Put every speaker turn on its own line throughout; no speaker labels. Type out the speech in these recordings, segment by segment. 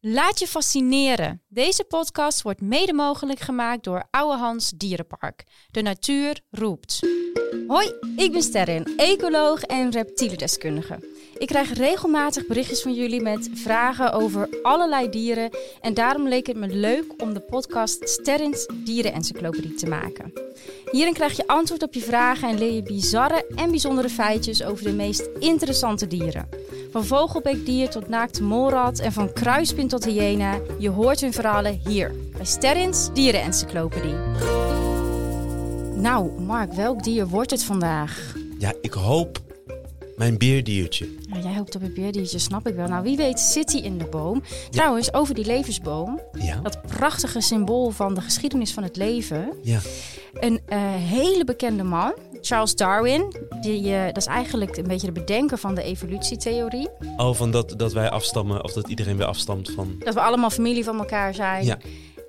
Laat je fascineren. Deze podcast wordt mede mogelijk gemaakt door Oude Hans Dierenpark. De natuur roept.
Hoi, ik ben Sterren, ecoloog en reptielendeskundige. Ik krijg regelmatig berichtjes van jullie met vragen over allerlei dieren en daarom leek het me leuk om de podcast Sterrens Dierenencyclopedie te maken. Hierin krijg je antwoord op je vragen en leer je bizarre en bijzondere feitjes over de meest interessante dieren. Van vogelbeekdier tot naakte molrat en van kruispin tot hyena, je hoort hun verhalen hier bij Sterrens Dierenencyclopedie. Nou, Mark, welk dier wordt het vandaag?
Ja, ik hoop mijn beerdiertje.
Nou, jij hoopt op een beerdiertje, snap ik wel. Nou, wie weet zit hij in de boom. Trouwens, over die levensboom.
Ja?
Dat prachtige symbool van de geschiedenis van het leven.
Ja.
Een eh, hele bekende man, Charles Darwin. Die, eh, dat is eigenlijk een beetje de bedenker van de evolutietheorie.
Oh, van dat, dat wij afstammen, of dat iedereen weer afstamt van...
Dat we allemaal familie van elkaar zijn.
Ja.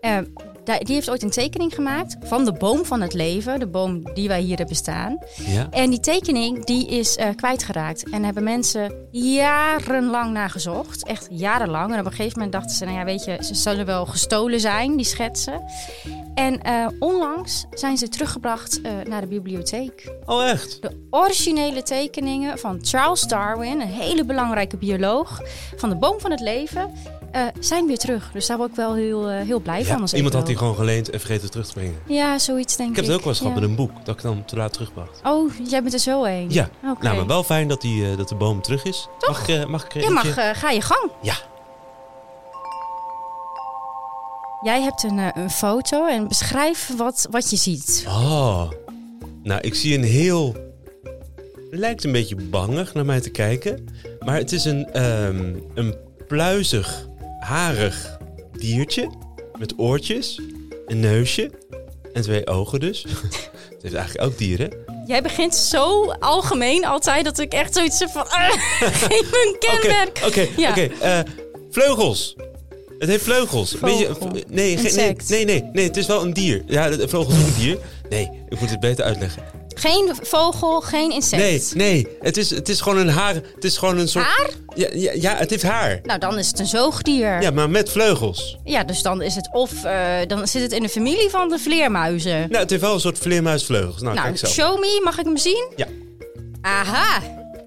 Eh, daar- die heeft ooit een tekening gemaakt van de boom van het leven. De boom die wij hier hebben staan.
Ja?
En die tekening die is eh, kwijtgeraakt. En hebben mensen jarenlang nagezocht. Echt jarenlang. En op een gegeven moment dachten ze, nou ja, weet je, ze zullen wel gestolen zijn, die schetsen. En eh, onlangs zijn ze teruggebracht eh, naar de bibliotheek.
Oh, echt?
De originele tekeningen van Charles Darwin, een hele belangrijke bioloog van de boom van het leven, eh, zijn weer terug. Dus daar word ik wel heel, eh, heel blij van.
Ja,
Als
iemand had die
ecoloog.
gewoon geleend en vergeten terug te brengen.
Ja, zoiets denk ik.
Ik heb het ook wel eens gehad
ja.
met een boek, dat ik dan te laat terugbracht.
Oh, jij bent er zo een.
Ja,
Oké.
nou, maar wel fijn dat, die, eh, dat de boom terug is. Mag ik... eh, mag ik eh,
Je mag,
eentje-
eh, ga je gang.
Ja.
Jij hebt een, eh, een foto en beschrijf wat, wat je ziet.
Oh. Nou, ik zie een heel... Lijkt een beetje bangig naar mij te kijken. Maar het is een, ehm, een pluizig, harig diertje. Met oortjes, een neusje en twee ogen dus. het heeft eigenlijk ook dieren.
Jij begint zo algemeen altijd dat ik echt zoiets heb van... ah, geef me een
Oké,
kenmerk.
oké,
Ja.
oké. eh, Vleugels. Het heeft vleugels. Een beetje-
Vogel.
v- nee, ge- nee,
Insect.
nee, nee, nee, het is wel een dier. Ja, de- vleugels is een dier. Nee, ik moet het beter uitleggen.
Geen vogel, geen insect.
Nee, nee, het is, het is gewoon een haar. Het is gewoon een soort.
Haar?
Ja, ja, ja, het heeft haar.
Nou, dan is het een zoogdier.
Ja, maar met vleugels.
Ja, dus dan is het of... eh, dan zit het in de familie van de vleermuizen.
Nou, het heeft wel een soort vleermuisvleugels. Nou,
nou,
kijk zo.
show me, mag ik hem zien?
Ja.
Aha,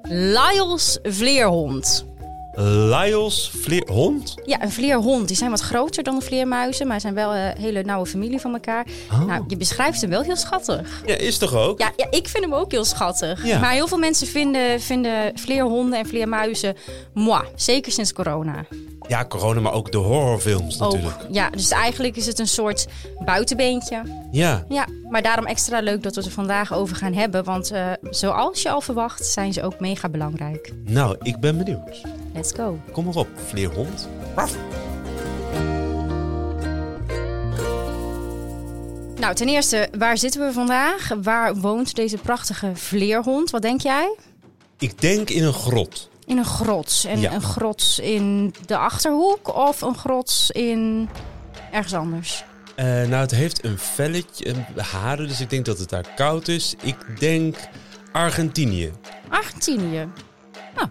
Lyell's vleerhond.
Lyles vleerhond?
Ja, een vleerhond. Die zijn wat groter dan de vleermuizen, maar zijn wel een hele nauwe familie van elkaar.
Oh.
Nou, je beschrijft hem wel heel schattig.
Ja, is toch ook?
Ja, ja, ik vind hem ook heel schattig.
Ja.
Maar heel veel mensen vinden, vinden vleerhonden en vleermuizen moi. Zeker sinds corona.
Ja, corona, maar ook de horrorfilms natuurlijk.
Ook. Ja, dus eigenlijk is het een soort buitenbeentje.
Ja.
Ja, maar daarom extra leuk dat we het er vandaag over gaan hebben. Want eh, zoals je al verwacht, zijn ze ook mega belangrijk.
Nou, ik ben benieuwd.
Let's go.
Kom maar op, vleerhond.
Nou, ten eerste, waar zitten we vandaag? Waar woont deze prachtige vleerhond? Wat denk jij?
Ik denk in een grot.
In een grot. En
Ja.
een grot in de achterhoek of een grot in ergens anders?
Eh, nou, het heeft een velletje, een haren, dus ik denk dat het daar koud is. Ik denk Argentinië.
Argentinië. Nou,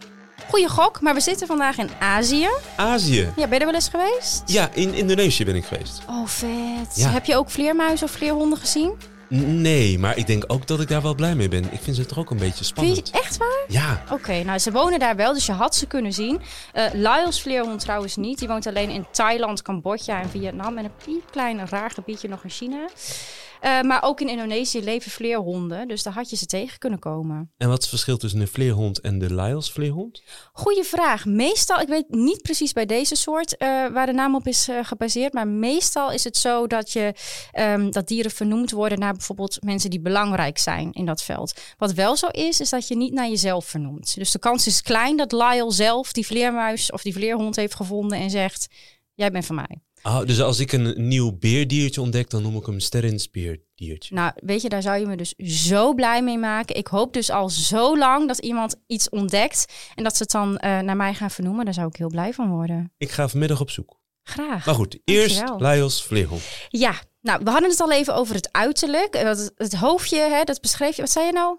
goede gok, maar we zitten vandaag in Azië.
Azië.
Ja, ben je er wel eens geweest?
Ja, in Indonesië ben ik geweest.
Oh, vet.
Ja.
Heb je ook vleermuizen of vleerhonden gezien?
N- Nee, maar ik denk ook dat ik daar wel blij mee ben. Ik vind ze toch ook een beetje
Vind
spannend.
je, echt waar?
Ja,
Oké, nou ze wonen daar wel, dus je had ze kunnen zien. Eh Lyles vleerhond trouwens niet. Die woont alleen in Thailand, Cambodja en Vietnam. En een piepklein raar gebiedje nog in China. Eh, maar ook in Indonesië leven vleerhonden. Dus daar had je ze tegen kunnen komen.
en wat is het verschil tussen een vleerhond en de Lyles vleerhond?
Goeie vraag. Meestal, ik weet niet precies bij deze soort eh, waar de naam op is eh, gebaseerd, maar meestal is het zo dat, je, ehm, dat dieren vernoemd worden naar bijvoorbeeld mensen die belangrijk zijn in dat veld. Wat wel zo is, is dat je niet naar jezelf vernoemt. Dus de kans is klein dat Lyle zelf die vleermuis of die vleerhond heeft gevonden en zegt, jij bent van mij.
Ah, dus als ik een nieuw beerdiertje ontdek, dan noem ik hem sterrensbeerdiertje.
Nou, weet je, daar zou je me dus zo blij mee maken. Ik hoop dus al zo lang dat iemand iets ontdekt en dat ze het dan eh, naar mij gaan vernoemen. Daar zou ik heel blij van worden.
Ik ga vanmiddag op zoek.
Graag.
Maar goed, eerst
Dankjewel.
Lyles vleerhond.
Ja, nou, we hadden het al even over het uiterlijk. Eh, Dat, het hoofdje, hè, dat beschreef je. Wat zei je nou?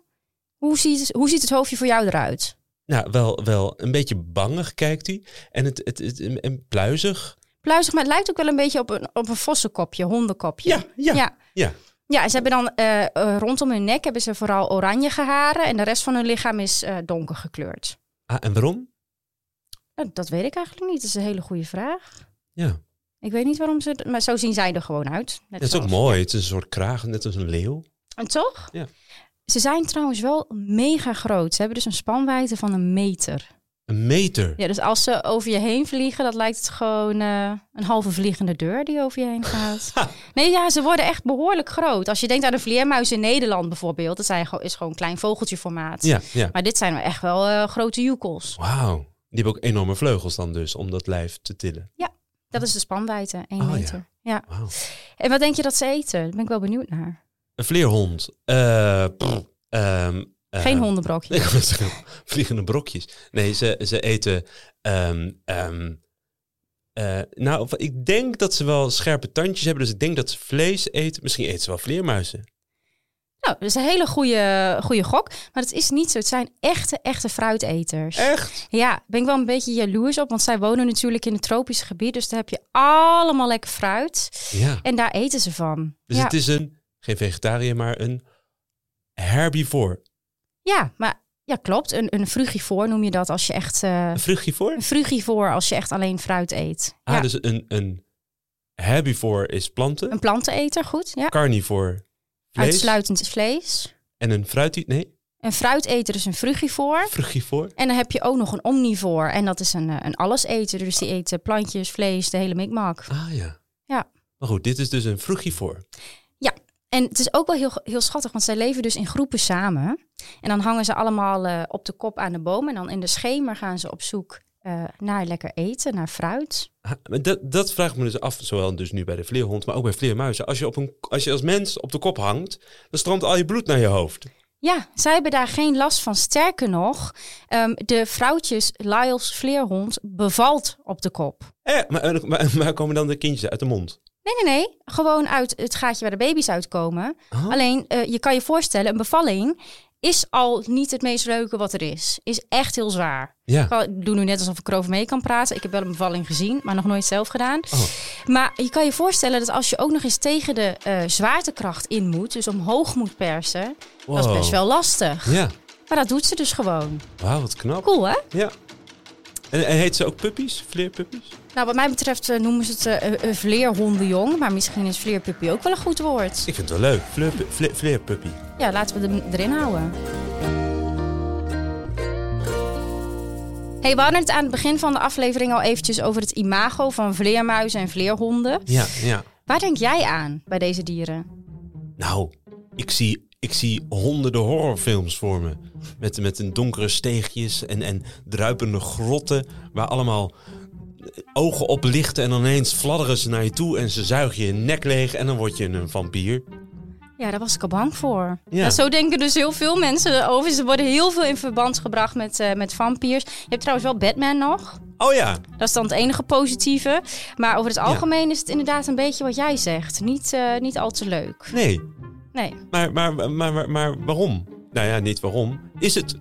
Hoe ziet, hoe ziet het hoofdje voor jou eruit?
Nou, wel, wel een beetje bangig kijkt hij. En, het, het, het, en pluizig.
pluizig, maar het lijkt ook wel een beetje op een, op een vossenkopje, hondenkopje.
Ja, ja,
Ja.
ja.
Ja, ze hebben dan eh, eh, rondom hun nek hebben ze vooral oranje geharen en de rest van hun lichaam is eh, donker gekleurd.
Ah, en waarom?
Nou, dat weet ik eigenlijk niet. Dat is een hele goede vraag.
Ja,
Ik weet niet waarom ze, het- maar zo zien zij er gewoon uit. Net
dat is ook
zoals-
mooi. Het is een soort kraag, net als een leeuw.
En toch?
Ja.
Ze zijn trouwens wel mega groot. Ze hebben dus een spanwijdte van een meter.
Een meter.
Ja, dus als ze over je heen vliegen, dat lijkt het gewoon eh, een halve vliegende deur die over je heen gaat. nee, ja, ze worden echt behoorlijk groot. Als je denkt aan de vleermuis in Nederland bijvoorbeeld, dat zijn, gewoon- is gewoon een klein vogeltjeformaat.
Ja, ja.
Maar dit zijn echt wel eh, grote joekels.
Wauw. Die hebben ook enorme vleugels dan dus, om dat lijf te tillen.
Dat is de spanwijdte, één
Oh, ja.
meter. Ja.
Wauw.
En wat denk je dat ze eten? Daar ben ik wel benieuwd naar.
Een vleerhond. Eh, pff, ehm, eh,
Geen hondenbrokje.
Ik wou zeggen, vliegende brokjes. Nee, ze, ze eten... ehm, ehm, eh, nou, ik denk dat ze wel scherpe tandjes hebben. Dus ik denk dat ze vlees eten. Misschien eten ze wel vleermuizen.
Nou, dat is een hele goede, goede gok. Maar het is niet zo. Het zijn echte, echte fruiteters.
Echt?
Ja, daar ben ik wel een beetje jaloers op. Want zij wonen natuurlijk in het tropische gebied. Dus daar heb je allemaal lekker fruit.
Ja.
En daar eten ze van.
Dus
ja.
het is een, geen vegetariër, maar een herbivore.
ja, maar ja, klopt. Een, een frugivoor noem je dat als je echt. eh,
Een vruchtjevore?
een frugivoor als je echt alleen fruit eet.
Ah,
ja.
dus een, een herbivore is planten.
Een planteneter, goed. Ja.
Carnivore vlees.
Uitsluitend is vlees.
En een fruitie... Nee,
Een fruiteter is een frugivoor.
vruchtjevore.
En dan heb je ook nog een omnivoor. En dat is een, eh, een alleseter. Dus die eet eh, plantjes, vlees, de hele mikmak.
Ah ja.
Ja.
Maar goed, dit is dus een vruchtjevore.
En het is ook wel heel, heel schattig, want zij leven dus in groepen samen. En dan hangen ze allemaal eh, op de kop aan de boom. En dan in de schemer gaan ze op zoek eh, naar lekker eten, naar fruit.
Ah, maar dat, dat vraag ik me dus af, zowel dus nu bij de vleerhond, maar ook bij vleermuizen. Als je, op een, als je als mens op de kop hangt, dan stroomt al je bloed naar je hoofd.
Ja, zij hebben daar geen last van. Sterker nog, ehm, de vrouwtjes, Lyle's vleerhond, bevalt op de kop.
Eh, maar, maar, maar komen dan de kindjes uit de mond?
Nee, nee, nee. Gewoon uit het gaatje waar de baby's uitkomen.
Oh.
Alleen, eh, je kan je voorstellen, een bevalling is al niet het meest leuke wat er is. Is echt heel zwaar.
Ja.
Ik wou- doe nu net alsof ik erover mee kan praten. Ik heb wel een bevalling gezien, maar nog nooit zelf gedaan.
Oh.
Maar je kan je voorstellen dat als je ook nog eens tegen de eh, zwaartekracht in moet, dus omhoog moet persen, dat is
Wow.
best wel lastig.
Ja.
Maar dat doet ze dus gewoon.
Wauw, wat knap.
Cool, hè?
Ja. En, en heet ze ook puppies? Vleerpuppies?
Nou, wat mij betreft eh, noemen ze het eh, eh, eh, vleerhondenjong, maar misschien is vleerpuppy ook wel een goed woord.
Ik vind het wel leuk. Vleerpu- vle- Vleerpuppy.
Ja, laten we hem erin houden. Hey, we hadden het aan het begin van de aflevering al eventjes over het imago van vleermuizen en vleerhonden.
Ja, ja.
Waar denk jij aan bij deze dieren?
Nou, ik zie, ik zie honderden horrorfilms voor me. Met, met een donkere steegjes en, en druipende grotten. Waar allemaal ogen oplichten en ineens fladderen ze naar je toe. En ze zuigen je nek leeg en dan word je een vampier.
Ja, daar was ik al bang voor.
Ja.
Ja, zo denken dus heel veel mensen over. Ze worden heel veel in verband gebracht met, eh, met vampiers. Je hebt trouwens wel Batman nog.
Oh ja,
Dat is dan het enige positieve. Maar over het algemeen is het inderdaad een beetje wat jij zegt. Niet, eh, niet al te leuk.
nee.
Nee.
Maar, maar, maar, maar, maar waarom? Nou ja, niet waarom. Is het...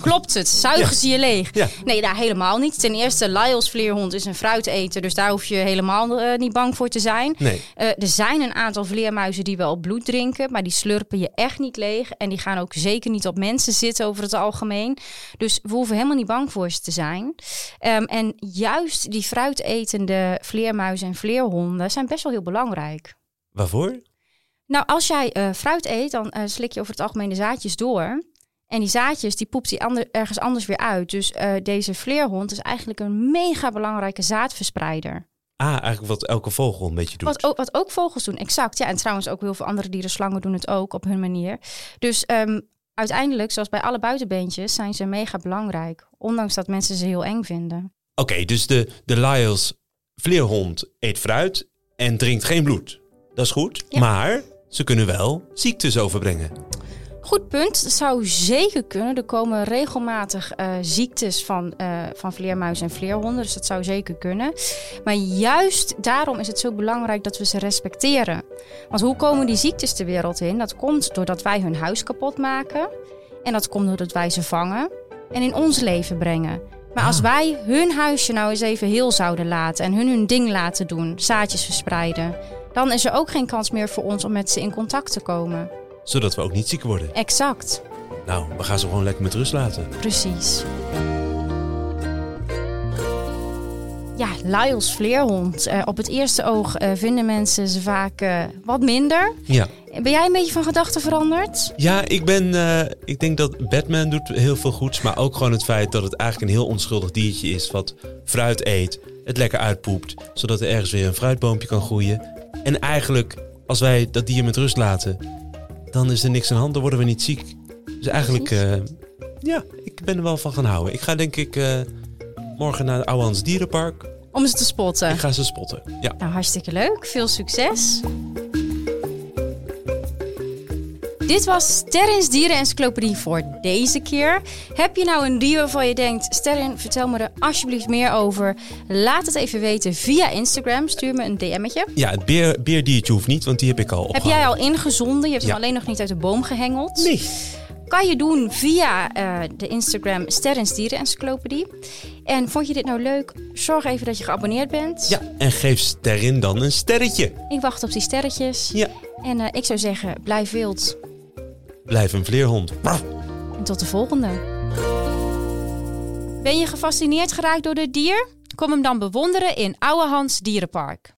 Klopt het? Zuigen
Ja.
ze je leeg?
Ja.
Nee, daar helemaal niet. Ten eerste, Lyle's vleerhond is een fruiteter. Dus daar hoef je helemaal eh, niet bang voor te zijn.
Nee.
Eh, er zijn een aantal vleermuizen die wel bloed drinken, maar die slurpen je echt niet leeg. En die gaan ook zeker niet op mensen zitten over het algemeen. Dus we hoeven helemaal niet bang voor ze te zijn. Ehm, en juist die fruitetende vleermuizen en vleerhonden zijn best wel heel belangrijk.
Waarvoor?
Nou, als jij eh, fruit eet, dan eh, slik je over het algemeen de zaadjes door. En die zaadjes, die poept hij ander- ergens anders weer uit. Dus eh, deze vleerhond is eigenlijk een mega belangrijke zaadverspreider.
Ah, eigenlijk wat elke vogel een beetje doet.
Wat ook, wat ook vogels doen, exact. Ja, en trouwens ook heel veel andere dieren, slangen doen het ook op hun manier. Dus ehm, uiteindelijk, zoals bij alle buitenbeentjes, zijn ze mega belangrijk. Ondanks dat mensen ze heel eng vinden.
Oké, dus de, de Lyles vleerhond eet fruit en drinkt geen bloed. Dat is goed,
Ja.
maar ze kunnen wel ziektes overbrengen.
Goed punt. Dat zou zeker kunnen. Er komen regelmatig eh, ziektes van, eh, van vleermuizen en vleerhonden. Dus dat zou zeker kunnen. Maar juist daarom is het zo belangrijk dat we ze respecteren. Want hoe komen die ziektes de wereld in? Dat komt doordat wij hun huis kapot maken. En dat komt doordat wij ze vangen en in ons leven brengen. Maar als
Ah.
wij hun huisje nou eens even heel zouden laten en hun hun ding laten doen, zaadjes verspreiden, dan is er ook geen kans meer voor ons om met ze in contact te komen.
Zodat we ook niet ziek worden.
Exact,
Nou, we gaan ze gewoon lekker met rust laten.
precies. Ja, Lyle's vleerhond. Eh, op het eerste oog eh, vinden mensen ze vaak eh, wat minder.
Ja.
Ben jij een beetje van gedachten veranderd?
Ja, ik ben. eh, ik denk dat Batman doet heel veel goeds. Maar ook gewoon het feit dat het eigenlijk een heel onschuldig diertje is. Wat fruit eet, het lekker uitpoept. Zodat er ergens weer een fruitboompje kan groeien. En eigenlijk, als wij dat dier met rust laten. dan is er niks aan de hand. Dan worden we niet ziek. Dus eigenlijk. eh, ja, ik ben er wel van gaan houden. Ik ga denk ik. eh, morgen naar het Ouwans Dierenpark.
Om ze te spotten.
Ik ga ze spotten. Ja.
Nou, hartstikke leuk. Veel succes. Dit was Sterrins Dieren Encyclopedie voor deze keer. Heb je nou een dier waarvan je denkt... Sterrin, vertel me er alsjeblieft meer over. Laat het even weten via Instagram. Stuur me een DM'tje.
Ja, het beer, beerdiertje hoeft niet, want die heb ik al
Heb
opgehaald.
jij al ingezonden? Je hebt
Ja.
hem alleen nog niet uit de boom gehengeld.
Nee.
Kan je doen via eh, de Instagram Sterrins Dieren Encyclopedie. En vond je dit nou leuk? Zorg even dat je geabonneerd bent.
Ja, en geef Sterrin dan een sterretje.
Ik wacht op die sterretjes.
Ja.
En eh, ik zou zeggen, blijf wild.
Blijf een vleerhond. Braf.
En tot de volgende. Ben je gefascineerd geraakt door dit dier? Kom hem dan bewonderen in Ouwe Hans Dierenpark.